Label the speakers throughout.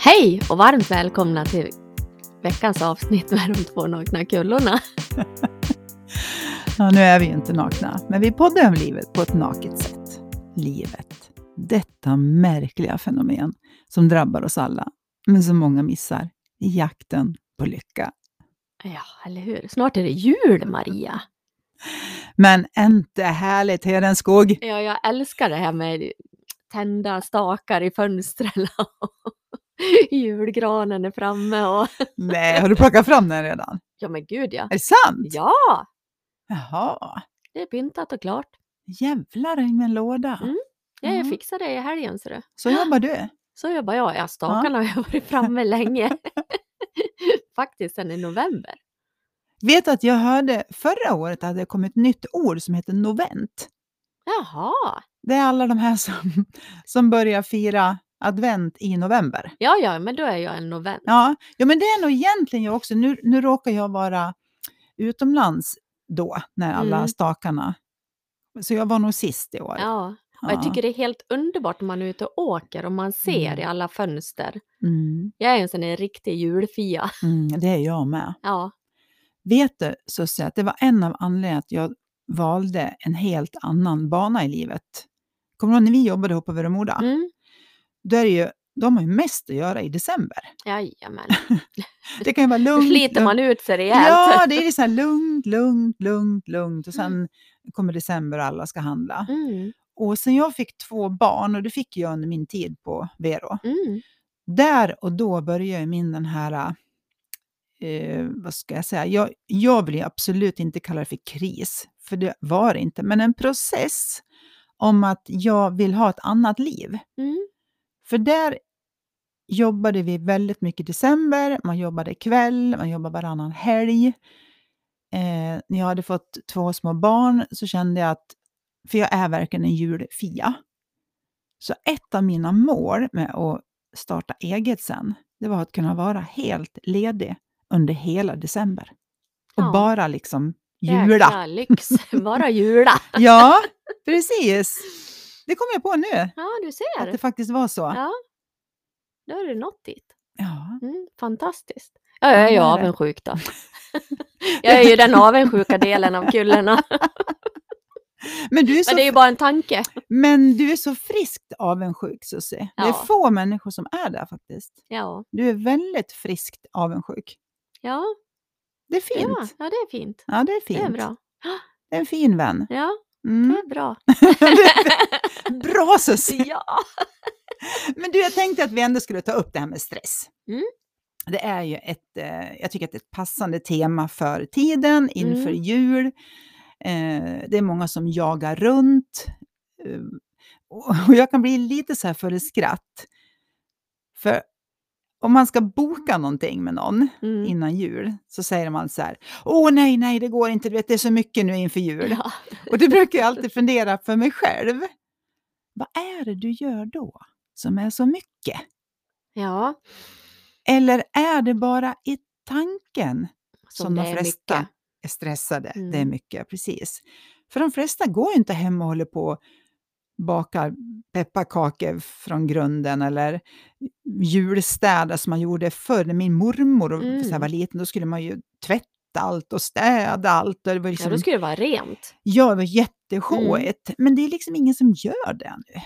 Speaker 1: Hej och varmt välkomna till veckans avsnitt med de två nakna kullorna.
Speaker 2: Ja, nu är vi ju inte nakna, men vi poddar om livet på ett naket sätt. Livet. Detta märkliga fenomen som drabbar oss alla, men som många missar i jakten på lycka.
Speaker 1: Ja, eller hur? Snart är det jul, Maria.
Speaker 2: Men inte härligt, Hedenskog!
Speaker 1: Ja, jag älskar det här med tända stakar i fönstren och julgranen är framme och...
Speaker 2: Nej, har du plockat fram den redan?
Speaker 1: Ja, men gud ja.
Speaker 2: Är det sant?
Speaker 1: Ja,
Speaker 2: Jaha,
Speaker 1: det är pyntat och klart.
Speaker 2: jävlar i min låda.
Speaker 1: Mm. Ja, jag
Speaker 2: Mm.
Speaker 1: fixar det i helgen, ser du.
Speaker 2: Så jobbar du?
Speaker 1: Så jobbar jag. Ja, stakarna har jag varit framme länge. Faktiskt sedan i november.
Speaker 2: Vet att jag hörde förra året att det kom ett nytt ord som heter novent.
Speaker 1: Jaha,
Speaker 2: Det är alla de här som, som börjar fira advent i november.
Speaker 1: ja, ja, men då är jag en novent.
Speaker 2: Ja, ja men det är nog egentligen jag också. Nu, nu råkar jag vara utomlands då, när alla
Speaker 1: Mm.
Speaker 2: stakarna... Så jag var nog sist i år.
Speaker 1: Ja, och jag
Speaker 2: Ja.
Speaker 1: tycker det är helt underbart när man är ute och åker och man ser
Speaker 2: Mm.
Speaker 1: i alla fönster.
Speaker 2: Mm,
Speaker 1: Jag är en sån där riktig julfia.
Speaker 2: mm, det är jag med.
Speaker 1: Ja,
Speaker 2: Vet du, Susie, att det var en av anledningarna att jag valde en helt annan bana i livet. Kommer du ihåg när vi jobbade ihop på Veremoda?
Speaker 1: mm.
Speaker 2: Då är det ju, de har ju mest att göra i december.
Speaker 1: jajamän.
Speaker 2: Det kan ju vara
Speaker 1: Då
Speaker 2: lugnt.
Speaker 1: sliter
Speaker 2: lugnt.
Speaker 1: man ut sig rejält.
Speaker 2: Ja, det är så här lugnt, lugnt, lugnt, lugnt. Och sen kommer december och alla ska handla.
Speaker 1: Mm,
Speaker 2: Och sen jag fick två barn, och det fick jag under min tid på Vero,
Speaker 1: mm.
Speaker 2: där och då började ju min den här, eh, vad ska jag säga, jag, jag vill ju absolut inte kalla det för kris, för det var det inte, men en process om att jag vill ha ett annat liv.
Speaker 1: Mm.
Speaker 2: För där jobbade vi väldigt mycket i december, man jobbade kväll, man jobbade varannan helg. Eh, när jag hade fått två små barn så kände jag att, för jag är verkligen en julfia, så ett av mina mål med att starta eget sen, det var att kunna vara helt ledig under hela december. Och
Speaker 1: Ja.
Speaker 2: bara liksom jula.
Speaker 1: Jäkla lyx. Bara jula.
Speaker 2: Ja, precis. Det kom jag på nu,
Speaker 1: Ja, du
Speaker 2: att det
Speaker 1: ser.
Speaker 2: faktiskt var så.
Speaker 1: Ja. Då har du nått dit.
Speaker 2: Ja.
Speaker 1: Mm, fantastiskt. Ja, jag är ju
Speaker 2: det är det.
Speaker 1: avundsjuk då. Jag är ju den avundsjuka delen av kullarna.
Speaker 2: Men du är så
Speaker 1: Men det är ju bara en tanke.
Speaker 2: Men du är så friskt avundsjuk, Susie. Det är
Speaker 1: Ja.
Speaker 2: få människor som är där faktiskt.
Speaker 1: Ja,
Speaker 2: Du är väldigt friskt avundsjuk.
Speaker 1: ja,
Speaker 2: Det är fint.
Speaker 1: ja,
Speaker 2: Ja,
Speaker 1: ja det är fint.
Speaker 2: det är fint.
Speaker 1: Det är bra.
Speaker 2: Det är en fin vän.
Speaker 1: Ja, det
Speaker 2: Mm.
Speaker 1: är bra.
Speaker 2: bra, Susie!
Speaker 1: Ja.
Speaker 2: Men du, jag tänkte att vi ändå skulle ta upp det här med stress.
Speaker 1: Mm.
Speaker 2: Det är ju ett, eh, jag tycker att det är ett passande tema för tiden inför
Speaker 1: Mm.
Speaker 2: jul. Eh, det är många som jagar runt. Eh, och och jag kan bli lite så här för skratt. För om man ska boka någonting med någon
Speaker 1: Mm.
Speaker 2: innan jul så säger man så här, åh nej, nej, det går inte, du vet, det är så mycket nu inför jul.
Speaker 1: Ja.
Speaker 2: Och det brukar jag alltid fundera för mig själv. Vad är det du gör då som är så mycket?
Speaker 1: ja,
Speaker 2: Eller är det bara i tanken
Speaker 1: som,
Speaker 2: som,
Speaker 1: det
Speaker 2: de
Speaker 1: är
Speaker 2: flesta
Speaker 1: mycket.
Speaker 2: är stressade? Det är
Speaker 1: Mm.
Speaker 2: mycket, precis. För de flesta går ju inte hem och håller på och bakar pepparkakor från grunden eller julstädar som man gjorde förr. När min mormor och-
Speaker 1: Mm.
Speaker 2: så här var liten, då skulle man ju tvätta allt och städa allt. Och det var
Speaker 1: Ja,
Speaker 2: liksom,
Speaker 1: då skulle Mm. det vara rent.
Speaker 2: Ja, det var jätteshowigt. Men det är liksom ingen som gör det nu.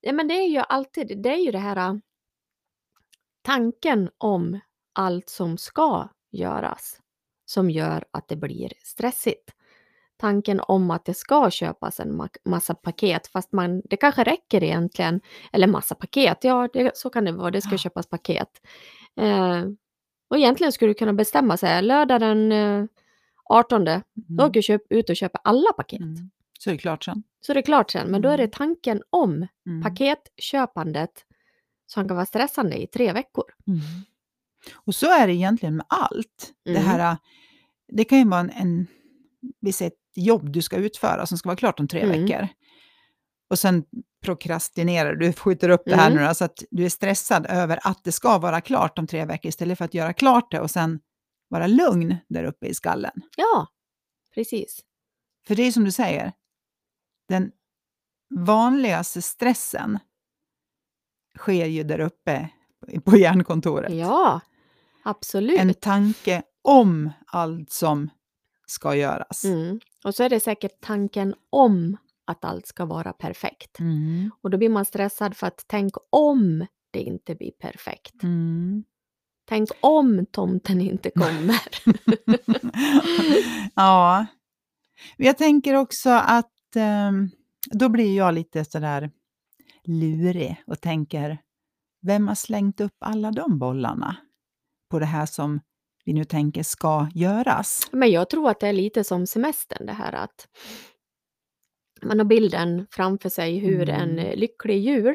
Speaker 1: Ja, men det är ju alltid, det är ju det här äh, tanken om allt som ska göras som gör att det blir stressigt. Tanken om att det ska köpas en ma- massa paket fast man, det kanske räcker egentligen. Eller massa paket, ja det, så kan det vara, det ska
Speaker 2: Ja.
Speaker 1: köpas paket. Eh, och egentligen skulle du kunna bestämma sig, lördag den eh, 18, då åker jag köp- ut och köper alla paket.
Speaker 2: Mm. Så är det klart sen.
Speaker 1: Så det är klart sen, men då är det
Speaker 2: Mm.
Speaker 1: tanken om
Speaker 2: Mm.
Speaker 1: paketköpandet som kan vara stressande i tre veckor.
Speaker 2: Mm. Och så är det egentligen med allt. Det,
Speaker 1: Mm.
Speaker 2: här, äh, det kan ju vara en, en, vi säger ett jobb du ska utföra som ska vara klart om tre
Speaker 1: Mm.
Speaker 2: veckor. Och sen prokrastinerar du, skjuter upp det här
Speaker 1: Mm.
Speaker 2: nu då, så att du är stressad över att det ska vara klart om tre veckor istället för att göra klart det och sen vara lugn där uppe i skallen.
Speaker 1: Ja, precis.
Speaker 2: För det är som du säger, den vanligaste stressen sker ju där uppe på hjärnkontoret.
Speaker 1: Ja, absolut.
Speaker 2: En tanke om allt som ska göras.
Speaker 1: Mm. Och så är det säkert tanken om att allt ska vara perfekt.
Speaker 2: Mm.
Speaker 1: Och då blir man stressad för att tänk om det inte blir perfekt.
Speaker 2: Mm.
Speaker 1: Tänk om tomten inte kommer.
Speaker 2: ja. Men Jag tänker också att ehm, då blir jag lite sådär lurig och tänker, vem har slängt upp alla de bollarna på det här som vi nu tänker ska göras?
Speaker 1: Men jag tror att det är lite som semestern det här att man har bilden framför sig hur
Speaker 2: Mm.
Speaker 1: en lycklig jul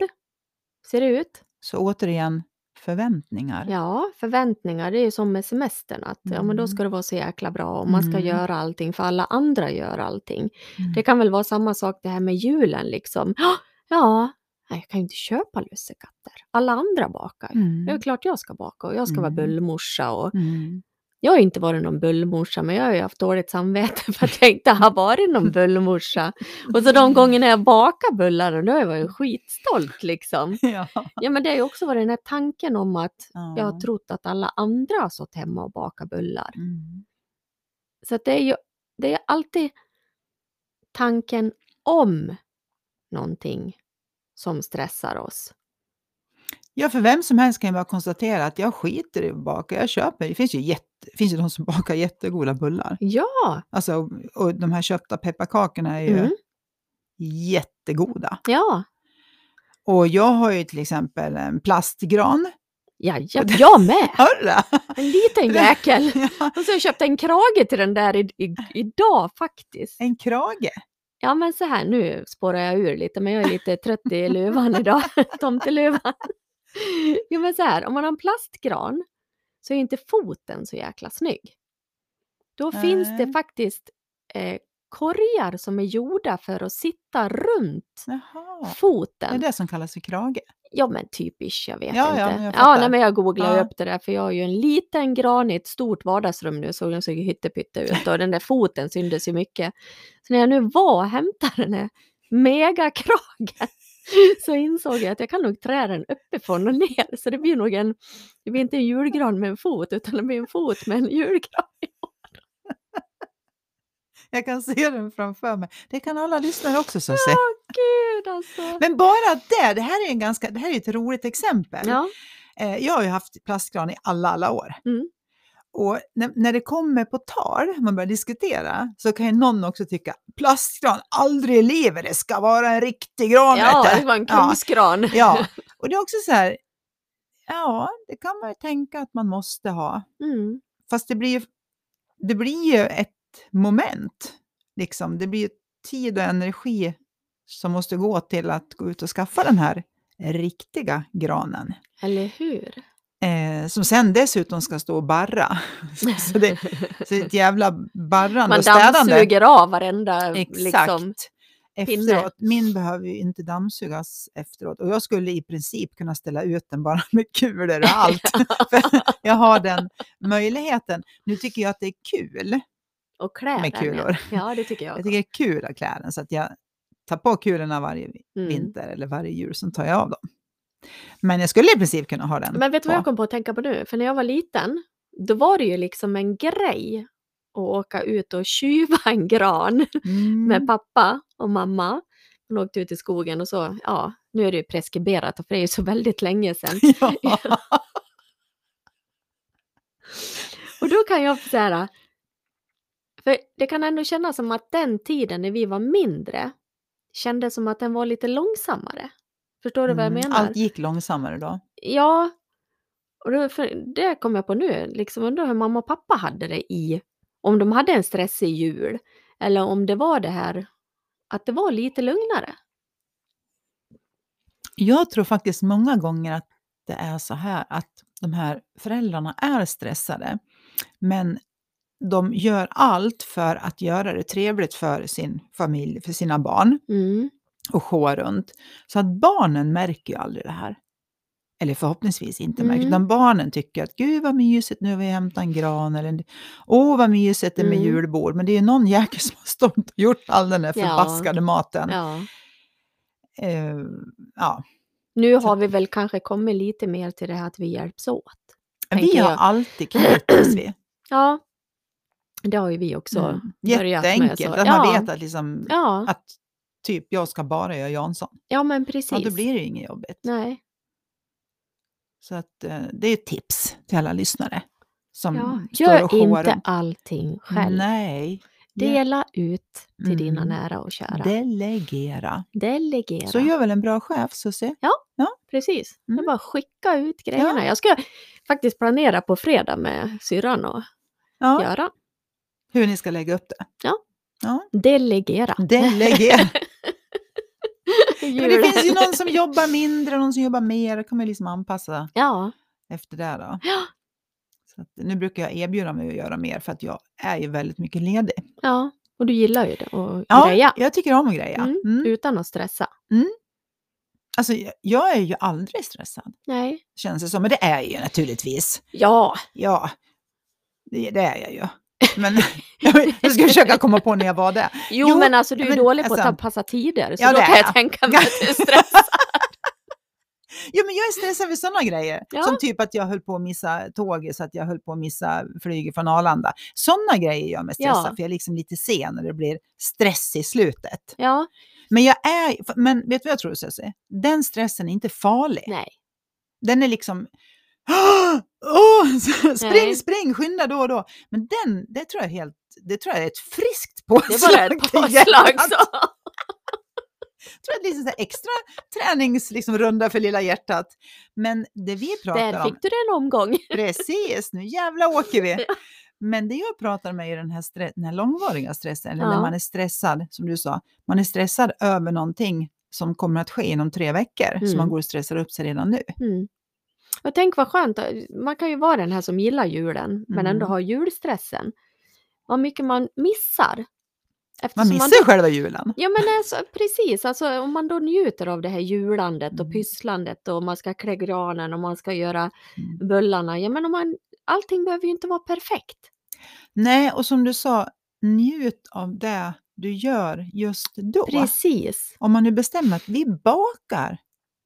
Speaker 1: ser ut.
Speaker 2: Så återigen, förväntningar.
Speaker 1: Ja, förväntningar, det är ju som med semestern att ja, men då
Speaker 2: Mm.
Speaker 1: ska det vara så jäkla bra och man ska
Speaker 2: Mm.
Speaker 1: göra allting för alla andra gör allting.
Speaker 2: Mm.
Speaker 1: Det kan väl vara samma sak det här med julen liksom. "Ja, Ja, nej, jag kan ju inte köpa lussekatter. Alla andra bakar. ju. Det är
Speaker 2: Mm.
Speaker 1: ju klart jag ska baka och jag ska vara
Speaker 2: Mm.
Speaker 1: bullmorsa och
Speaker 2: Mm.
Speaker 1: jag har inte varit någon bullmorsa, men jag har ju haft dåligt samvete för att jag inte har varit någon bullmorsa. Och så
Speaker 2: Mm.
Speaker 1: de gångerna jag bakar bullar, då har jag varit skitstolt liksom.
Speaker 2: Ja.
Speaker 1: Ja, men det har ju också varit den här tanken om att jag
Speaker 2: Ja.
Speaker 1: har trott att alla andra har suttit hemma och bakat bullar.
Speaker 2: Mm.
Speaker 1: Så att det är ju det är alltid tanken om någonting som stressar oss.
Speaker 2: Ja, för vem som helst kan ju bara konstatera att jag skiter i att baka, jag köper. Det finns ju, jätte, det finns ju de som bakar jättegoda bullar.
Speaker 1: Ja,
Speaker 2: Alltså, och- och de här köpta pepparkakorna är ju
Speaker 1: Mm.
Speaker 2: jättegoda.
Speaker 1: ja,
Speaker 2: Och jag har ju till exempel en plastgran.
Speaker 1: ja, ja jag med!
Speaker 2: Hörra!
Speaker 1: En liten jäkel!
Speaker 2: Ja,
Speaker 1: Och så har jag köpt en krage till den där i, i, idag faktiskt.
Speaker 2: en krage.
Speaker 1: Ja men så här, nu spårar jag ur lite men jag är lite trött i luvan idag, tomteluvan. Jo men så här, om man har en plastgran så är inte foten så jäkla snygg. Då finns det
Speaker 2: Nej.
Speaker 1: faktiskt eh, korgar som är gjorda för att sitta runt
Speaker 2: Jaha. Det är
Speaker 1: foten.
Speaker 2: det som kallas för krage.
Speaker 1: Ja men typiskt, jag vet
Speaker 2: Ja, ja,
Speaker 1: inte.
Speaker 2: men jag
Speaker 1: ja,
Speaker 2: fattar.
Speaker 1: nej, men jag googlar
Speaker 2: Ja.
Speaker 1: upp det där för jag har ju en liten gran i ett stort vardagsrum nu så den såg ju hyttepytte ut och den där foten syndes ju mycket. Så när jag nu var och hämtade den här megakragen så insåg jag att jag kan nog trä den uppifrån och ner så det blir nog en, det blir inte en julgran med en fot utan det blir en fot med en julgran.
Speaker 2: Jag kan se den framför mig. Det kan alla lyssnare också så se.
Speaker 1: Ja, gud alltså.
Speaker 2: Men bara det, det här är, en ganska, det här är ett roligt exempel.
Speaker 1: Ja,
Speaker 2: Eh, jag har ju haft plastgran i alla, alla år.
Speaker 1: Mm.
Speaker 2: Och när, när det kommer på tal, man börjar diskutera, så kan ju någon också tycka plastgran, aldrig i livet, det ska vara en riktig gran.
Speaker 1: ja
Speaker 2: vet
Speaker 1: det
Speaker 2: du."
Speaker 1: var en
Speaker 2: eh, ja,
Speaker 1: krusgran.
Speaker 2: ja, och det är också så här, ja, det kan man ju tänka att man måste ha.
Speaker 1: Mm.
Speaker 2: Fast det blir ju, det blir ju ett moment, liksom. Det blir ju tid och energi som måste gå till att gå ut och skaffa den här riktiga granen.
Speaker 1: Eller hur?
Speaker 2: Eh, som sen dessutom ska stå och barra. så det, så det är ett jävla barrande
Speaker 1: Man
Speaker 2: och städande.
Speaker 1: dammsuger av varenda
Speaker 2: Exakt.
Speaker 1: liksom,
Speaker 2: Efteråt, min behöver ju inte dammsugas efteråt. Och jag skulle i princip kunna ställa ut den bara med kulor och allt. För jag har den möjligheten. Nu tycker jag att det är kul.
Speaker 1: och kläder.
Speaker 2: Med kulor.
Speaker 1: Ja, det tycker jag.
Speaker 2: Jag tycker det är kul att klä den. Så att jag tar på kulorna varje
Speaker 1: Mm.
Speaker 2: vinter eller varje jul. Sen tar jag av dem. Men jag skulle i princip kunna ha den.
Speaker 1: Men vet du vad
Speaker 2: på.
Speaker 1: jag kom på att tänka på nu? För när jag var liten, då var det ju liksom en grej att åka ut och tjuva en gran
Speaker 2: Mm.
Speaker 1: med pappa och mamma. Man åkte ut i skogen och så, ja, nu är det ju preskriberat för det är ju så väldigt länge sedan.
Speaker 2: ja.
Speaker 1: Och då kan jag så här, för det kan ändå kännas som att den tiden när vi var mindre kändes som att den var lite långsammare. Förstår du vad jag
Speaker 2: Mm,
Speaker 1: menar?
Speaker 2: Allt gick långsammare då.
Speaker 1: Ja, och då, för det kom jag på nu. Liksom undrar hur mamma och pappa hade det i, om de hade en stressig jul eller om det var det här att det var lite lugnare.
Speaker 2: Jag tror faktiskt många gånger att det är så här att de här föräldrarna är stressade. Men de gör allt för att göra det trevligt för sin familj, för sina barn
Speaker 1: Mm.
Speaker 2: och showa runt. Så att barnen märker ju aldrig det här. Eller förhoppningsvis inte märker,
Speaker 1: Mm.
Speaker 2: utan barnen tycker att gud vad mysigt, nu har vi hämtat en gran eller åh vad mysigt det är med
Speaker 1: Mm.
Speaker 2: julbord. Men det är ju någon jäkel som har stått och gjort all den där
Speaker 1: Ja.
Speaker 2: förbaskade maten.
Speaker 1: Ja.
Speaker 2: Eh, ja.
Speaker 1: Nu
Speaker 2: Så
Speaker 1: har
Speaker 2: att-
Speaker 1: vi väl kanske kommit lite mer till det här att vi hjälps åt.
Speaker 2: Vi
Speaker 1: tänker
Speaker 2: har
Speaker 1: jag.
Speaker 2: alltid kritiskt vi.
Speaker 1: Ja, det har ju vi också
Speaker 2: Mm.
Speaker 1: börjat med.
Speaker 2: Jätteenkelt,
Speaker 1: så-
Speaker 2: att man vet att, liksom,
Speaker 1: Ja,
Speaker 2: att typ jag ska bara göra Jansson.
Speaker 1: ja, men precis.
Speaker 2: Ja, då blir det ju inget jobbigt.
Speaker 1: Nej,
Speaker 2: Så att, eh, det är ett tips till alla lyssnare som
Speaker 1: ja.
Speaker 2: står liksom och
Speaker 1: Gör
Speaker 2: showar
Speaker 1: inte
Speaker 2: runt.
Speaker 1: allting själv.
Speaker 2: Nej,
Speaker 1: Dela ut till dina
Speaker 2: Mm.
Speaker 1: nära och kära.
Speaker 2: delegera.
Speaker 1: Delegera.
Speaker 2: Så gör väl en bra chef, Susie?
Speaker 1: Precis.
Speaker 2: Mm.
Speaker 1: Jag bara skicka ut grejerna. Jag ska faktiskt planera på fredag med syrran och
Speaker 2: Ja,
Speaker 1: Göran.
Speaker 2: Hur ni ska lägga upp det.
Speaker 1: Delegera.
Speaker 2: Delegera. Men
Speaker 1: Gör
Speaker 2: det finns ju någon som jobbar mindre, någon som jobbar mer. Då kan man ju liksom anpassa
Speaker 1: Ja,
Speaker 2: efter det då.
Speaker 1: Ja.
Speaker 2: Så att, nu brukar jag erbjuda mig att göra mer för att jag är ju väldigt mycket ledig.
Speaker 1: ja. Och du gillar ju det och
Speaker 2: Ja,
Speaker 1: greja
Speaker 2: jag tycker om att greja.
Speaker 1: Mm.
Speaker 2: Mm.
Speaker 1: utan att stressa.
Speaker 2: Alltså, jag- jag är ju aldrig stressad,
Speaker 1: Nej.
Speaker 2: känns det som. Men det är jag ju naturligtvis.
Speaker 1: Ja,
Speaker 2: Ja, det, det är jag ju. Men jag ska försöka komma på när jag var det.
Speaker 1: jo,
Speaker 2: Jo,
Speaker 1: men alltså du är
Speaker 2: men
Speaker 1: dålig på att
Speaker 2: alltså-
Speaker 1: anpassa tider så
Speaker 2: Ja,
Speaker 1: då
Speaker 2: det
Speaker 1: kan
Speaker 2: är
Speaker 1: jag
Speaker 2: jag.
Speaker 1: tänka mig att du är stressad.
Speaker 2: Jo, men jag är stressad för sådana grejer.
Speaker 1: Ja.
Speaker 2: Som typ att jag höll på att missa tåget så att jag höll på att missa flyget från Arlanda. Sådana grejer gör mig stressad
Speaker 1: Ja.
Speaker 2: för jag är liksom lite sen och det blir stress i slutet.
Speaker 1: Ja,
Speaker 2: Men, jag är, men vet du vad jag tror Susie? Den stressen är inte farlig.
Speaker 1: nej.
Speaker 2: Den är liksom Åh, spring,
Speaker 1: Nej.
Speaker 2: spring, skynda då och då. Men den, det tror jag, helt, det tror jag är ett friskt påslag.
Speaker 1: Det var bara ett
Speaker 2: till hjärtat.
Speaker 1: påslag. Så.
Speaker 2: Jag tror att det är lite så här extra träningsrunda liksom, runda för lilla hjärtat. Men det vi pratar
Speaker 1: Där
Speaker 2: om,
Speaker 1: fick du den omgång.
Speaker 2: precis, nu jävla åker vi. Men det jag pratar om är ju den här, stre- den här långvariga stressen, eller
Speaker 1: Ja.
Speaker 2: när man är stressad, som du sa, man är stressad över någonting som kommer att ske inom tre veckor, så
Speaker 1: Mm.
Speaker 2: man går och stressar upp sig redan nu.
Speaker 1: Mm. Och tänk vad skönt, man kan ju vara den här som gillar julen men ändå
Speaker 2: Mm.
Speaker 1: har julstressen. Vad mycket man missar.
Speaker 2: Man
Speaker 1: Eftersom
Speaker 2: missar
Speaker 1: då-
Speaker 2: ju själva julen.
Speaker 1: Ja men alltså, precis, alltså, om man då njuter av det här julandet och
Speaker 2: Mm.
Speaker 1: pysslandet och man ska klä granen och man ska göra
Speaker 2: Mm.
Speaker 1: bullarna. Ja men om man, allting behöver ju inte vara perfekt.
Speaker 2: Nej, och som du sa, njut av det du gör just då.
Speaker 1: Precis.
Speaker 2: Om man nu bestämmer att vi bakar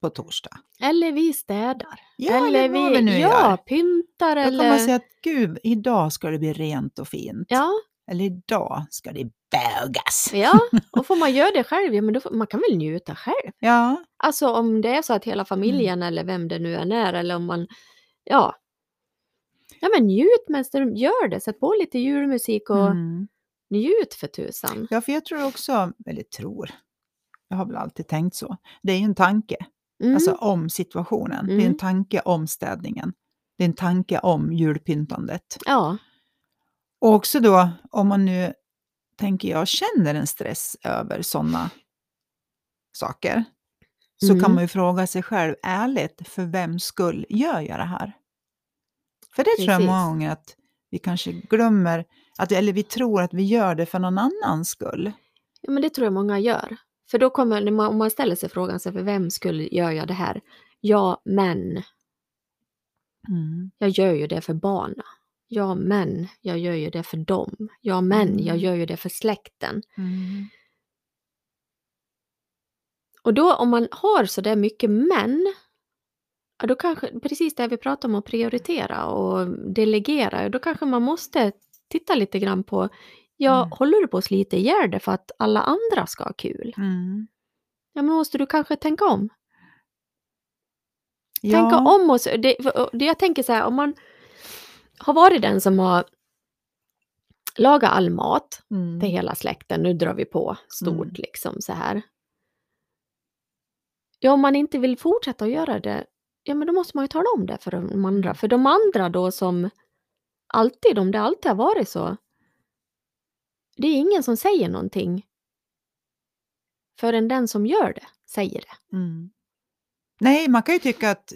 Speaker 2: på torsdag.
Speaker 1: Eller vi städar.
Speaker 2: Ja,
Speaker 1: eller
Speaker 2: vad vi nu
Speaker 1: ja,
Speaker 2: gör.
Speaker 1: pyntar
Speaker 2: Då kan
Speaker 1: eller...
Speaker 2: man säga att gud, idag ska det bli rent och fint.
Speaker 1: Ja,
Speaker 2: Eller idag ska det bögas.
Speaker 1: ja, och får man göra det själv, ja men då får, man kan väl njuta själv.
Speaker 2: Ja,
Speaker 1: Alltså om det är så att
Speaker 2: Mm.
Speaker 1: hela familjen eller vem det nu än är eller om man, ja. Ja men njut medan du gör det, sätt på lite julmusik och
Speaker 2: mm.
Speaker 1: njut för tusan.
Speaker 2: ja för jag tror också, eller tror, jag har väl alltid tänkt så. Det är ju en tanke,
Speaker 1: Mm.
Speaker 2: alltså om situationen. Det är
Speaker 1: Mm.
Speaker 2: en tanke om städningen. Det är en tanke om julpyntandet.
Speaker 1: ja,
Speaker 2: Och också då, om man nu, tänker jag, känner en stress över sådana saker, så
Speaker 1: Mm.
Speaker 2: kan man ju fråga sig själv ärligt, för vems skull gör jag det här? För det tror jag
Speaker 1: Precis.
Speaker 2: många gånger att vi kanske glömmer, att, eller vi tror att vi gör det för någon annans skull.
Speaker 1: ja, men det tror jag många gör. För då kommer, när man, om man ställer sig frågan, så här, för vem skulle gör jag det här? Ja, men jag gör ju det för barna. Ja, men jag gör ju det för dem. Ja, men jag
Speaker 2: Mm.
Speaker 1: gör ju det för släkten.
Speaker 2: Mm.
Speaker 1: Och då om man har så där mycket men, ja, då kanske, precis det vi pratar om att prioritera och delegera, då kanske man måste titta lite grann på, ja,
Speaker 2: Mm.
Speaker 1: håller du på att slita ihjäl det för att alla andra ska ha kul?
Speaker 2: Mm.
Speaker 1: Ja, men måste du kanske tänka om?
Speaker 2: Ja.
Speaker 1: Tänka om och så, det, för- och det jag tänker så här, om man har varit den som har lagat all mat
Speaker 2: Mm.
Speaker 1: till hela släkten, nu drar vi på stort
Speaker 2: Mm.
Speaker 1: liksom så här. Ja, om man inte vill fortsätta att göra det, ja men då måste man ju tala om det för de andra.
Speaker 2: Mm.
Speaker 1: För de andra då som alltid, om det alltid har varit så, det är ingen som säger någonting förrän den som gör det säger det.
Speaker 2: Mm. Nej, man kan ju tycka att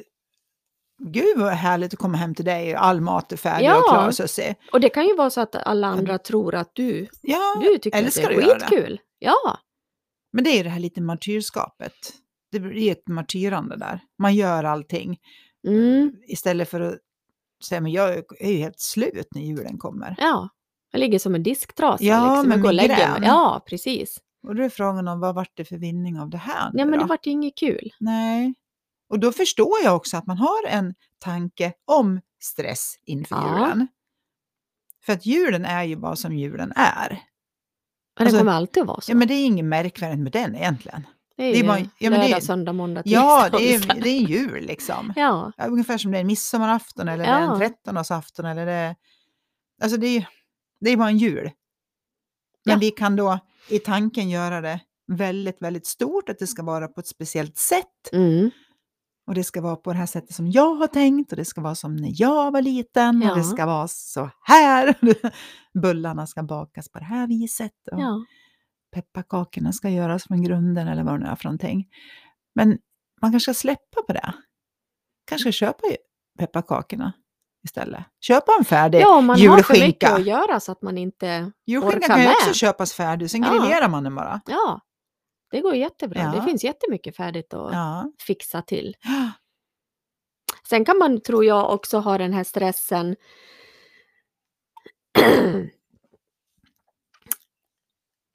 Speaker 2: Gud vad härligt att komma hem till dig och all mat är färdig
Speaker 1: Ja.
Speaker 2: och klar, Susie.
Speaker 1: Och det kan ju vara så att alla andra tror att du,
Speaker 2: Ja,
Speaker 1: du tycker att det
Speaker 2: älskar
Speaker 1: är
Speaker 2: att göra det.
Speaker 1: skitkul. Ja,
Speaker 2: Men det är ju det här lite martyrskapet. Det blir ett martyrande där. Man gör allting
Speaker 1: mm,
Speaker 2: istället för att säga men jag är ju helt slut när julen kommer.
Speaker 1: ja. Jag ligger som en disktrasa
Speaker 2: Ja,
Speaker 1: liksom. Jag
Speaker 2: med
Speaker 1: går och lägger mig.
Speaker 2: migrän.
Speaker 1: Ja, precis.
Speaker 2: Och då är frågan om vad vart det för vinning av det här?
Speaker 1: Nej,
Speaker 2: nu
Speaker 1: men det
Speaker 2: då?
Speaker 1: vart ju inget kul.
Speaker 2: Nej. Och då förstår jag också att man har en tanke om stress inför
Speaker 1: Ja.
Speaker 2: julen. För att julen är ju bara som julen är.
Speaker 1: Men
Speaker 2: Alltså,
Speaker 1: det kommer alltid att vara så.
Speaker 2: Ja, men det är inget märkvärdigt med den egentligen.
Speaker 1: det är
Speaker 2: det är
Speaker 1: ju
Speaker 2: bara- ja, men det är-
Speaker 1: lördag, söndag, måndag, tisdag.
Speaker 2: Ja, det
Speaker 1: onsdag.
Speaker 2: är, det är en jul liksom.
Speaker 1: Ja,
Speaker 2: Ja, Ungefär som det är en midsommarafton eller det är
Speaker 1: Ja.
Speaker 2: en trettondagsafton eller det är... Alltså det är, det är bara en jul. Men
Speaker 1: Ja.
Speaker 2: vi kan då i tanken göra det väldigt, väldigt stort, att det ska vara på ett speciellt sätt.
Speaker 1: mm,
Speaker 2: Och det ska vara på det här sättet som jag har tänkt och det ska vara som när jag var liten och
Speaker 1: Ja.
Speaker 2: det ska vara så här. Bullarna ska bakas på det här viset. Och
Speaker 1: ja.
Speaker 2: pepparkakorna ska göras från grunden eller vad det nu är för någonting. Men man kanske ska släppa på det.
Speaker 1: Mm.
Speaker 2: Kanske köpa ju pepparkakorna istället. Köpa en färdig.
Speaker 1: ja, om man har för mycket
Speaker 2: julskinka.
Speaker 1: att göra så att man inte...
Speaker 2: Julskinka
Speaker 1: orka
Speaker 2: kan ju
Speaker 1: med.
Speaker 2: också köpas färdig, sen
Speaker 1: Ja.
Speaker 2: grillerar man den bara.
Speaker 1: Ja, det går jättebra.
Speaker 2: Ja.
Speaker 1: Det finns jättemycket färdigt att
Speaker 2: Ja.
Speaker 1: fixa till. Sen kan man, tror jag, också ha den här stressen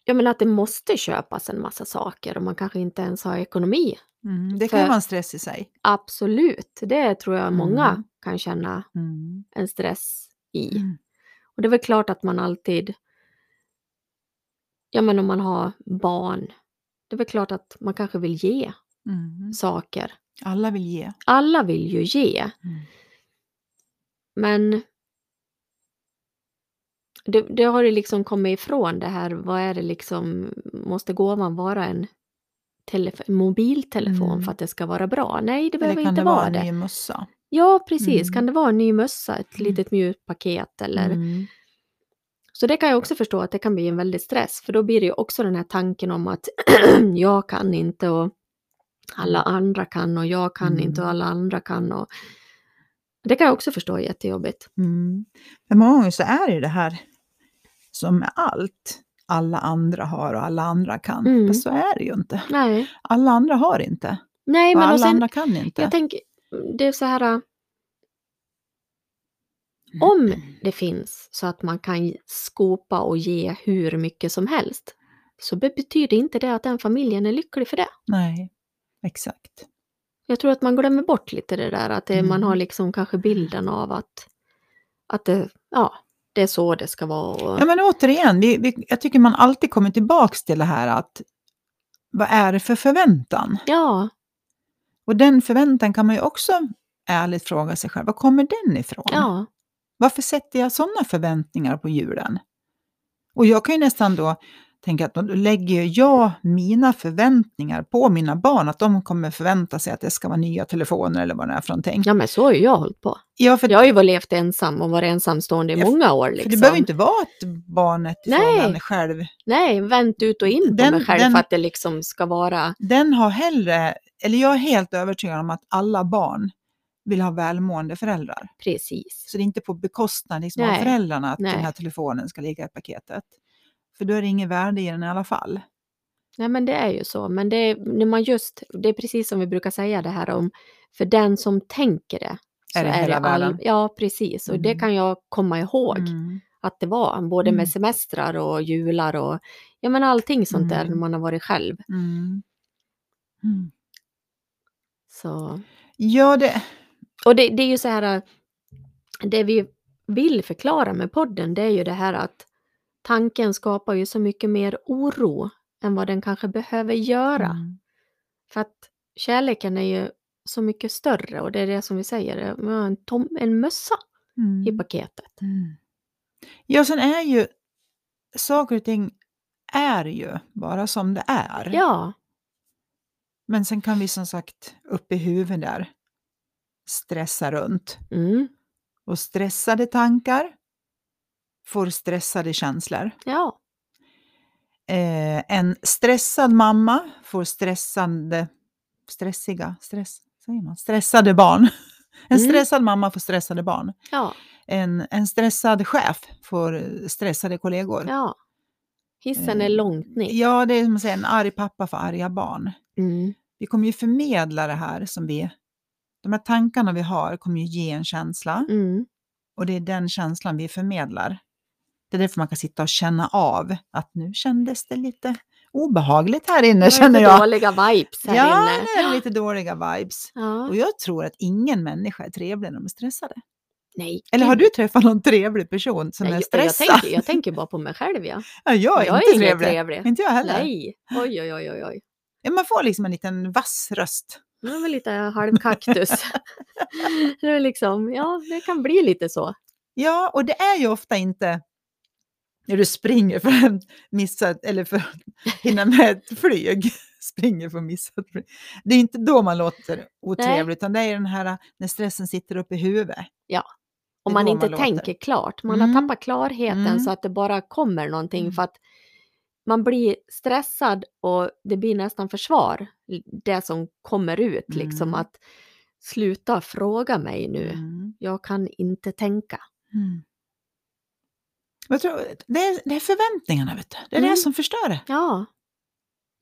Speaker 1: Jag menar att det måste köpas en massa saker och man kanske inte ens har ekonomi.
Speaker 2: Mm, det kan
Speaker 1: För-
Speaker 2: vara en stress i sig.
Speaker 1: Absolut, det tror jag många
Speaker 2: Mm.
Speaker 1: kan känna
Speaker 2: Mm.
Speaker 1: en stress i.
Speaker 2: Mm.
Speaker 1: Och det är väl klart att man alltid, ja men om man har barn, det är väl klart att man kanske vill ge
Speaker 2: Mm.
Speaker 1: saker.
Speaker 2: Alla vill ge.
Speaker 1: Alla vill ju ge,
Speaker 2: Mm.
Speaker 1: men det, det har ju liksom kommit ifrån det här, vad är det liksom, måste gåvan vara en telefo- mobiltelefon
Speaker 2: Mm.
Speaker 1: för att det ska vara bra? Nej, det
Speaker 2: Eller
Speaker 1: behöver
Speaker 2: kan
Speaker 1: inte
Speaker 2: det
Speaker 1: vara
Speaker 2: vara en
Speaker 1: det.
Speaker 2: ny mössa?
Speaker 1: Ja, precis.
Speaker 2: Mm.
Speaker 1: Kan det vara en ny mössa, ett
Speaker 2: Mm.
Speaker 1: litet mjukt paket eller
Speaker 2: Mm.
Speaker 1: Så det kan jag också förstå att det kan bli en väldig stress, för då blir det ju också den här tanken om att jag kan inte och alla andra kan och jag kan inte och
Speaker 2: Mm.
Speaker 1: alla andra kan och det kan jag också förstå är jättejobbigt.
Speaker 2: Mm. Men många gånger så är det ju det här som med allt alla andra har och alla andra kan.
Speaker 1: Mm.
Speaker 2: Fast så är det ju inte.
Speaker 1: Nej,
Speaker 2: Alla andra har inte.
Speaker 1: Nej
Speaker 2: och
Speaker 1: men
Speaker 2: alla
Speaker 1: och sen,
Speaker 2: andra kan inte.
Speaker 1: jag tänker, det är så här, äh, om
Speaker 2: Mm.
Speaker 1: det finns så att man kan skopa och ge hur mycket som helst, så be- betyder inte det att den familjen är lycklig för det.
Speaker 2: Nej, exakt.
Speaker 1: Jag tror att man glömmer bort lite det där att det, man
Speaker 2: Mm.
Speaker 1: har liksom kanske bilden av att, att det, ja, det är så det ska vara. Och,
Speaker 2: Ja, men återigen, vi, vi, jag tycker man alltid kommer tillbaks till det här att vad är det för förväntan?
Speaker 1: ja,
Speaker 2: Och den förväntan kan man ju också ärligt fråga sig själv, var kommer den ifrån?
Speaker 1: ja,
Speaker 2: Varför sätter jag sådana förväntningar på julen? Och jag kan ju nästan då tänka att då lägger ju jag mina förväntningar på mina barn, att de kommer förvänta sig att det ska vara nya telefoner eller vad det är för någonting.
Speaker 1: ja, men så har ju jag hållit på.
Speaker 2: Ja, för,
Speaker 1: Jag har ju varit levt ensam och varit ensamstående i
Speaker 2: Ja,
Speaker 1: många år.
Speaker 2: för
Speaker 1: Liksom.
Speaker 2: det behöver ju inte vara att barnet i
Speaker 1: Nej.
Speaker 2: frågan själv
Speaker 1: Nej, vänt ut och in på
Speaker 2: Den-
Speaker 1: mig själv
Speaker 2: den-
Speaker 1: för att det liksom ska vara...
Speaker 2: den har hellre, eller jag är helt övertygad om att alla barn vill ha välmående föräldrar.
Speaker 1: Precis.
Speaker 2: Så det är inte på bekostnad liksom av
Speaker 1: Nej,
Speaker 2: föräldrarna att den
Speaker 1: nej.
Speaker 2: här telefonen ska ligga i paketet. För då är det ingen värde i den i alla fall.
Speaker 1: Nej, men det är ju så. Men det, är- när man just, det är precis som vi brukar säga det här om, för den som tänker det. så
Speaker 2: Är det hela världen?
Speaker 1: Ja, precis. Och det
Speaker 2: Mm.
Speaker 1: kan jag komma ihåg.
Speaker 2: Mm.
Speaker 1: att det var, både
Speaker 2: Mm.
Speaker 1: med semestrar och jular och ja, men allting sånt där
Speaker 2: Mm.
Speaker 1: när man har varit själv.
Speaker 2: Mm. Mm.
Speaker 1: Så.
Speaker 2: Ja, det...
Speaker 1: Och det, det är ju så här, det vi vill förklara med podden det är ju det här att tanken skapar ju så mycket mer oro än vad den kanske behöver göra.
Speaker 2: Mm.
Speaker 1: För att kärleken är ju så mycket större och det är det som vi säger, det är en, tom, en mössa
Speaker 2: Mm.
Speaker 1: i paketet.
Speaker 2: Mm. Ja, sen är ju saker och ting är ju bara som det är.
Speaker 1: Ja,
Speaker 2: Men sen kan vi som sagt upp i huvudet där stressa runt.
Speaker 1: mm,
Speaker 2: Och stressade tankar får stressade känslor.
Speaker 1: ja,
Speaker 2: Eh, en stressad mamma får stressande, stressiga, stress, säger man, stressade barn. En
Speaker 1: Mm.
Speaker 2: stressad mamma får stressade barn.
Speaker 1: ja,
Speaker 2: En, en stressad chef får eh, stressade kollegor.
Speaker 1: ja. Hissen är
Speaker 2: Eh,
Speaker 1: långt ner.
Speaker 2: Ja, det är som att säga en arg pappa för arga barn.
Speaker 1: Mm,
Speaker 2: Vi kommer ju förmedla det här som vi... De här tankarna vi har kommer ju ge en känsla
Speaker 1: mm,
Speaker 2: och det är den känslan vi förmedlar. Det är därför man kan sitta och känna av att nu kändes det lite obehagligt här inne
Speaker 1: Det
Speaker 2: känner
Speaker 1: lite
Speaker 2: jag.
Speaker 1: dåliga vibes här
Speaker 2: Ja,
Speaker 1: inne.
Speaker 2: det är lite dåliga vibes.
Speaker 1: Ja.
Speaker 2: Och jag tror att ingen människa är trevlig när de är stressade.
Speaker 1: Nej.
Speaker 2: Eller har
Speaker 1: gud.
Speaker 2: du träffat någon trevlig person som
Speaker 1: Nej,
Speaker 2: är
Speaker 1: jag, jag,
Speaker 2: stressad?
Speaker 1: tänker, jag tänker bara på mig själv. Ja.
Speaker 2: ja, jag är
Speaker 1: jag
Speaker 2: inte
Speaker 1: är ingen
Speaker 2: trevlig.
Speaker 1: trevlig.
Speaker 2: Inte jag heller.
Speaker 1: Nej. Oj, oj, oj, oj, oj.
Speaker 2: Ja, Man får liksom en liten vass röst.
Speaker 1: Det var lite halvkaktus. det är liksom, ja, det kan bli lite så.
Speaker 2: Ja, och det är ju ofta inte när du springer för att missa, eller för att hinna med ett flyg. Springer för att missa ett flyg. Det är inte då man låter otrevlig, utan det är den här äh, när stressen sitter uppe i huvudet.
Speaker 1: Om
Speaker 2: Det är
Speaker 1: man
Speaker 2: då
Speaker 1: inte
Speaker 2: man låter.
Speaker 1: tänker klart. Man
Speaker 2: Mm.
Speaker 1: har tappat klarheten
Speaker 2: Mm.
Speaker 1: så att det bara kommer någonting.
Speaker 2: Mm.
Speaker 1: För att man blir stressad och det blir nästan försvar. Det som kommer ut liksom
Speaker 2: Mm.
Speaker 1: att sluta fråga mig nu.
Speaker 2: Mm.
Speaker 1: Jag kan inte tänka.
Speaker 2: Mm. Jag tror, det, är, det är förväntningarna, vet du. det är det
Speaker 1: Mm.
Speaker 2: som förstör det.
Speaker 1: Ja,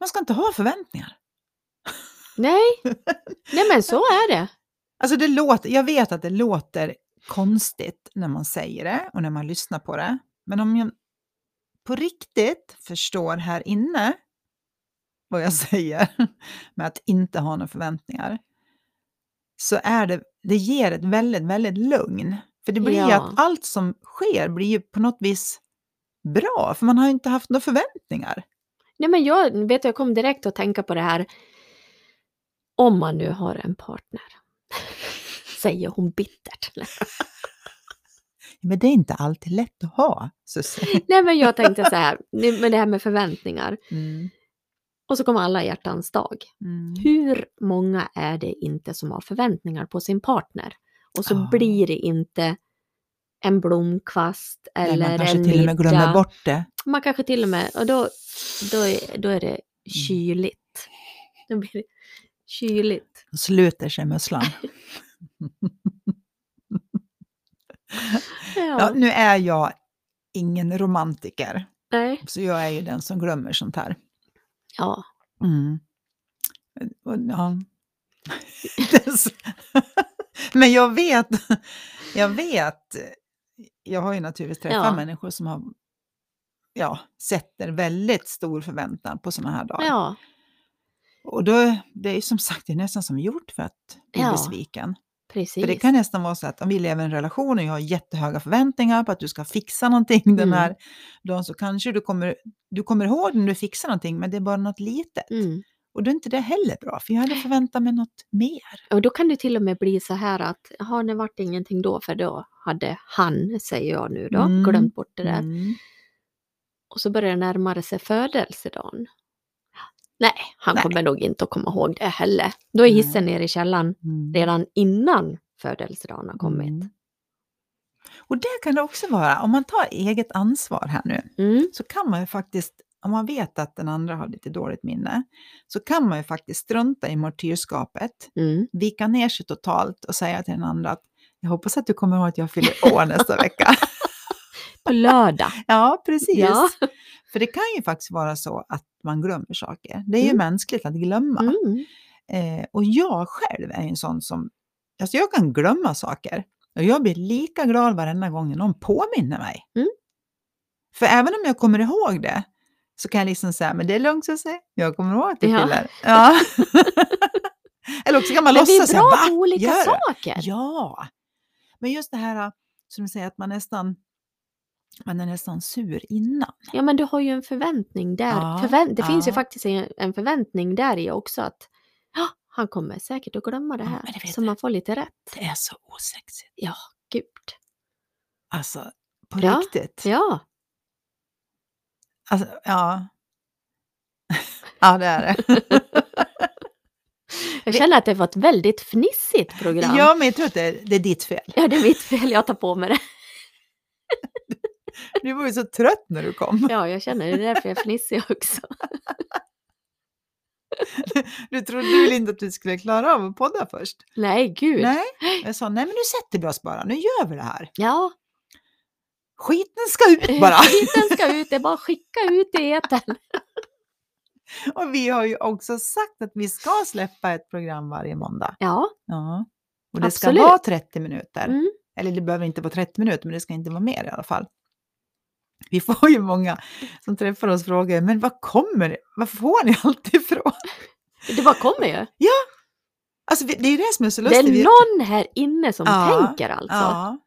Speaker 2: Man ska inte ha förväntningar.
Speaker 1: nej. nej men så är det.
Speaker 2: Alltså det låter, jag vet att det låter konstigt när man säger det och när man lyssnar på det. Men om jag på riktigt förstår här inne vad jag säger med att inte ha några förväntningar så är det, det ger ett väldigt, väldigt lugn. För det blir ju
Speaker 1: Ja.
Speaker 2: att allt som sker blir ju på något vis bra, för man har ju inte haft några förväntningar.
Speaker 1: Nej men jag, vet, du, jag kom direkt att tänka på det här. Om man nu har en partner. Säger hon bittert.
Speaker 2: Men det är inte alltid lätt att ha, Susie.
Speaker 1: Nej men jag tänkte så här, nu med det här med förväntningar.
Speaker 2: Mm.
Speaker 1: Och så kommer alla hjärtans dag.
Speaker 2: Mm.
Speaker 1: Hur många är det inte som har förväntningar på sin partner? Och så
Speaker 2: Ah.
Speaker 1: blir det inte en blomkvast eller
Speaker 2: Nej, man kanske
Speaker 1: en
Speaker 2: till och med glömmer
Speaker 1: middag.
Speaker 2: bort det.
Speaker 1: Man kanske till och med, och då, då, är, då är det
Speaker 2: Mm.
Speaker 1: kyligt. Då blir det kyligt.
Speaker 2: och sluter sig musslan.
Speaker 1: Ja,
Speaker 2: Ja, nu är jag ingen romantiker,
Speaker 1: nej.
Speaker 2: så jag är ju den som glömmer sånt här. Mm.
Speaker 1: Ja.
Speaker 2: Och, ja. Det är så- Men jag vet, jag vet, jag har ju naturligtvis träffat
Speaker 1: Ja.
Speaker 2: människor som har, ja, sätter väldigt stor förväntan på såna här dagar.
Speaker 1: ja,
Speaker 2: Och då, det är ju som sagt, det är nästan som gjort för att bli
Speaker 1: Ja.
Speaker 2: besviken.
Speaker 1: precis.
Speaker 2: För det kan nästan vara så att om vi lever i en relation och jag har jättehöga förväntningar på att du ska fixa någonting den
Speaker 1: Mm.
Speaker 2: här dagen så kanske du kommer, du kommer ihåg när du fixar någonting men det är bara något litet.
Speaker 1: Mm.
Speaker 2: Och då är inte det heller bra för jag hade förväntat mig något mer.
Speaker 1: Och då kan det till och med bli så här att, har det varit ingenting då för då hade han, säger jag nu då,
Speaker 2: Mm.
Speaker 1: glömt bort det där.
Speaker 2: Mm.
Speaker 1: Och så börjar det närma sig födelsedagen. Nej, han
Speaker 2: Nej.
Speaker 1: kommer nog inte att komma ihåg det heller. Då är
Speaker 2: Nej.
Speaker 1: hissen nere i källaren
Speaker 2: Mm.
Speaker 1: redan innan födelsedagen har kommit.
Speaker 2: Mm. Och det kan det också vara, om man tar eget ansvar här nu
Speaker 1: Mm.
Speaker 2: så kan man ju faktiskt, om man vet att den andra har lite dåligt minne, så kan man ju faktiskt strunta i martyrskapet
Speaker 1: Mm.
Speaker 2: vika ner sig totalt och säga till den andra att jag hoppas att du kommer ihåg att jag fyller år nästa vecka.
Speaker 1: På lördag.
Speaker 2: Ja, precis.
Speaker 1: Ja.
Speaker 2: För det kan ju faktiskt vara så att man glömmer saker. Det är ju
Speaker 1: Mm.
Speaker 2: mänskligt att glömma.
Speaker 1: Mm.
Speaker 2: Eh, och jag själv är ju en sån som, alltså jag kan glömma saker. Och jag blir lika glad varenda gång någon påminner mig.
Speaker 1: Mm.
Speaker 2: För även om jag kommer ihåg det så kan jag liksom säga, men det är lugnt så säga. jag kommer ihåg att du
Speaker 1: Ja.
Speaker 2: fyller. Ja. Eller också kan man
Speaker 1: Men vi
Speaker 2: låtsas
Speaker 1: är
Speaker 2: säga,
Speaker 1: bra på
Speaker 2: va?
Speaker 1: olika
Speaker 2: Gör det?
Speaker 1: saker.
Speaker 2: Ja, men just det här som du säger att man nästan man är nästan sur innan.
Speaker 1: Ja, men du har ju en förväntning där.
Speaker 2: Ja,
Speaker 1: Förvän- det finns ju
Speaker 2: ja.
Speaker 1: faktiskt en, en förväntning där i också att "Ja, han kommer säkert att glömma det
Speaker 2: Ja,
Speaker 1: här.
Speaker 2: men det vet
Speaker 1: så
Speaker 2: jag.
Speaker 1: man får lite rätt.
Speaker 2: Det är så osexigt.
Speaker 1: Ja, gud.
Speaker 2: Alltså, på
Speaker 1: Ja,
Speaker 2: riktigt.
Speaker 1: Ja.
Speaker 2: Alltså, ja. ja, det är det.
Speaker 1: Jag
Speaker 2: Vi-
Speaker 1: känner att det var ett väldigt fnissigt program.
Speaker 2: ja, men jag tror att det är, det är ditt fel.
Speaker 1: Ja, det är mitt fel. Jag tar på mig det.
Speaker 2: Du var ju så trött när du kom.
Speaker 1: Ja, jag känner det. Det är därför jag fnissar också.
Speaker 2: Du trodde väl inte att du skulle klara av att podda först?
Speaker 1: Nej, gud.
Speaker 2: Nej, jag sa nej men nu sätter vi oss bara, nu gör vi det här.
Speaker 1: Ja,
Speaker 2: Skiten ska ut bara.
Speaker 1: skiten ska ut. Det är bara att skicka ut i etern.
Speaker 2: Och vi har ju också sagt att vi ska släppa ett program varje måndag.
Speaker 1: Ja,
Speaker 2: Ja. Och det
Speaker 1: Absolut.
Speaker 2: ska vara 30 minuter.
Speaker 1: mm.
Speaker 2: Eller det behöver inte vara 30 minuter, men det ska inte vara mer i alla fall. Vi får ju många som träffar oss och frågar, men vad kommer Vad får ni allt ifrån?
Speaker 1: Det bara kommer ju.
Speaker 2: Alltså, vi- det är det som är så
Speaker 1: Det
Speaker 2: lustigt. Vi-
Speaker 1: är någon här inne som
Speaker 2: Ja,
Speaker 1: tänker alltså.
Speaker 2: Ja,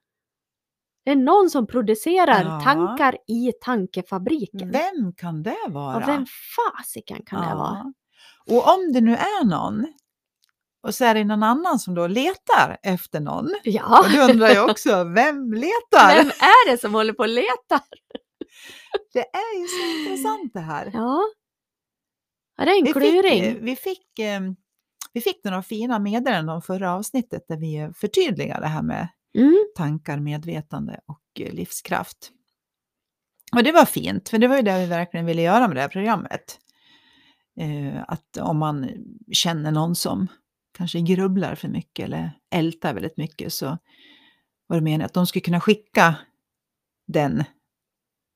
Speaker 1: Det är någon som producerar
Speaker 2: Ja.
Speaker 1: tankar i tankefabriken.
Speaker 2: vem kan det vara?
Speaker 1: Ja, vem fasiken kan det
Speaker 2: Ja.
Speaker 1: vara?
Speaker 2: Och om det nu är någon, och så är det någon annan som då letar efter någon,
Speaker 1: Ja,
Speaker 2: och då undrar jag också, vem letar?
Speaker 1: vem är det som håller på och letar?
Speaker 2: Det är ju så intressant det här.
Speaker 1: Ja, ja det är en kluring.
Speaker 2: Fick, eh, vi, fick, eh, vi fick några fina meddelanden om förra avsnittet där vi eh, förtydligar det här med
Speaker 1: Mm.
Speaker 2: tankar, medvetande och eh, livskraft. Och det var fint, för det var ju det vi verkligen ville göra med det här programmet. Eh, att om man känner någon som kanske grubblar för mycket eller ältar väldigt mycket så var det meningen att de skulle kunna skicka den,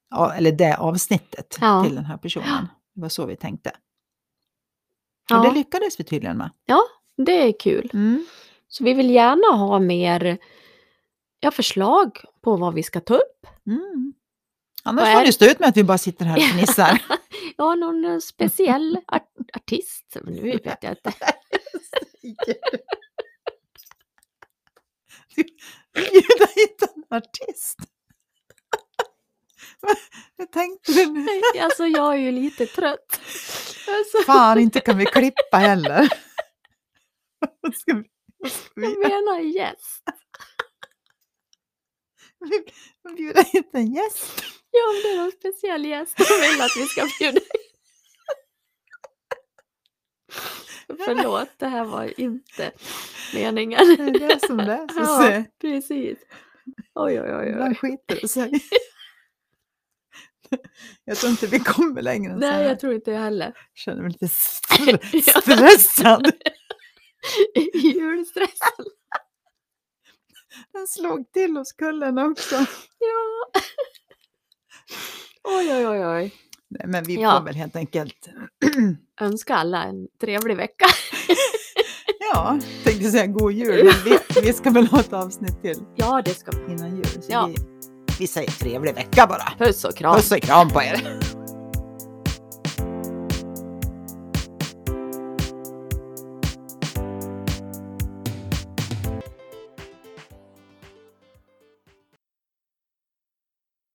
Speaker 2: ja, eller det avsnittet
Speaker 1: Ja.
Speaker 2: till den här personen. Det var så vi tänkte. Och
Speaker 1: Ja,
Speaker 2: det lyckades vi tydligen med.
Speaker 1: det är kul.
Speaker 2: Mm.
Speaker 1: Så vi vill gärna ha mer ja, förslag på vad vi ska ta upp.
Speaker 2: Mm. Annars
Speaker 1: Vad
Speaker 2: får
Speaker 1: är-
Speaker 2: ni stå ut med att vi bara sitter här och fnissar.
Speaker 1: Ja, någon eh, speciell art- artist. Men Nu vet jag inte.
Speaker 2: Bjuda hit en artist. Jag tänkte du nu?
Speaker 1: Alltså, jag är ju lite trött. Alltså,
Speaker 2: Fan, inte kan vi klippa heller. Vad ska vi- vad ska
Speaker 1: jag
Speaker 2: vi-
Speaker 1: menar gäst.
Speaker 2: vi Bjuda hit en gäst.
Speaker 1: Ja, om det är någon speciell gäst som vill att vi ska bjuda in. Förlåt, det här var inte meningen.
Speaker 2: Det är det som det är. Så
Speaker 1: Ja,
Speaker 2: se.
Speaker 1: precis. Oj, oj, oj. oj.
Speaker 2: Ibland skiter det sig. Jag tror inte vi kommer längre än så här.
Speaker 1: Nej, jag tror inte jag heller.
Speaker 2: Jag känner mig lite str- stressad.
Speaker 1: Julstress.
Speaker 2: Den slog till hos kullen också.
Speaker 1: Ja. Oj, oj, oj, oj.
Speaker 2: Nej, Men vi
Speaker 1: Ja.
Speaker 2: får väl helt enkelt
Speaker 1: Önska alla en trevlig vecka.
Speaker 2: Ja, tänkte säga god jul. Men vi, vi ska väl ha ett avsnitt till
Speaker 1: Ja, det ska vi.
Speaker 2: innan jul. Så
Speaker 1: Ja.
Speaker 2: vi, vi säger trevlig vecka bara.
Speaker 1: Puss och kram.
Speaker 2: Puss och kram på er.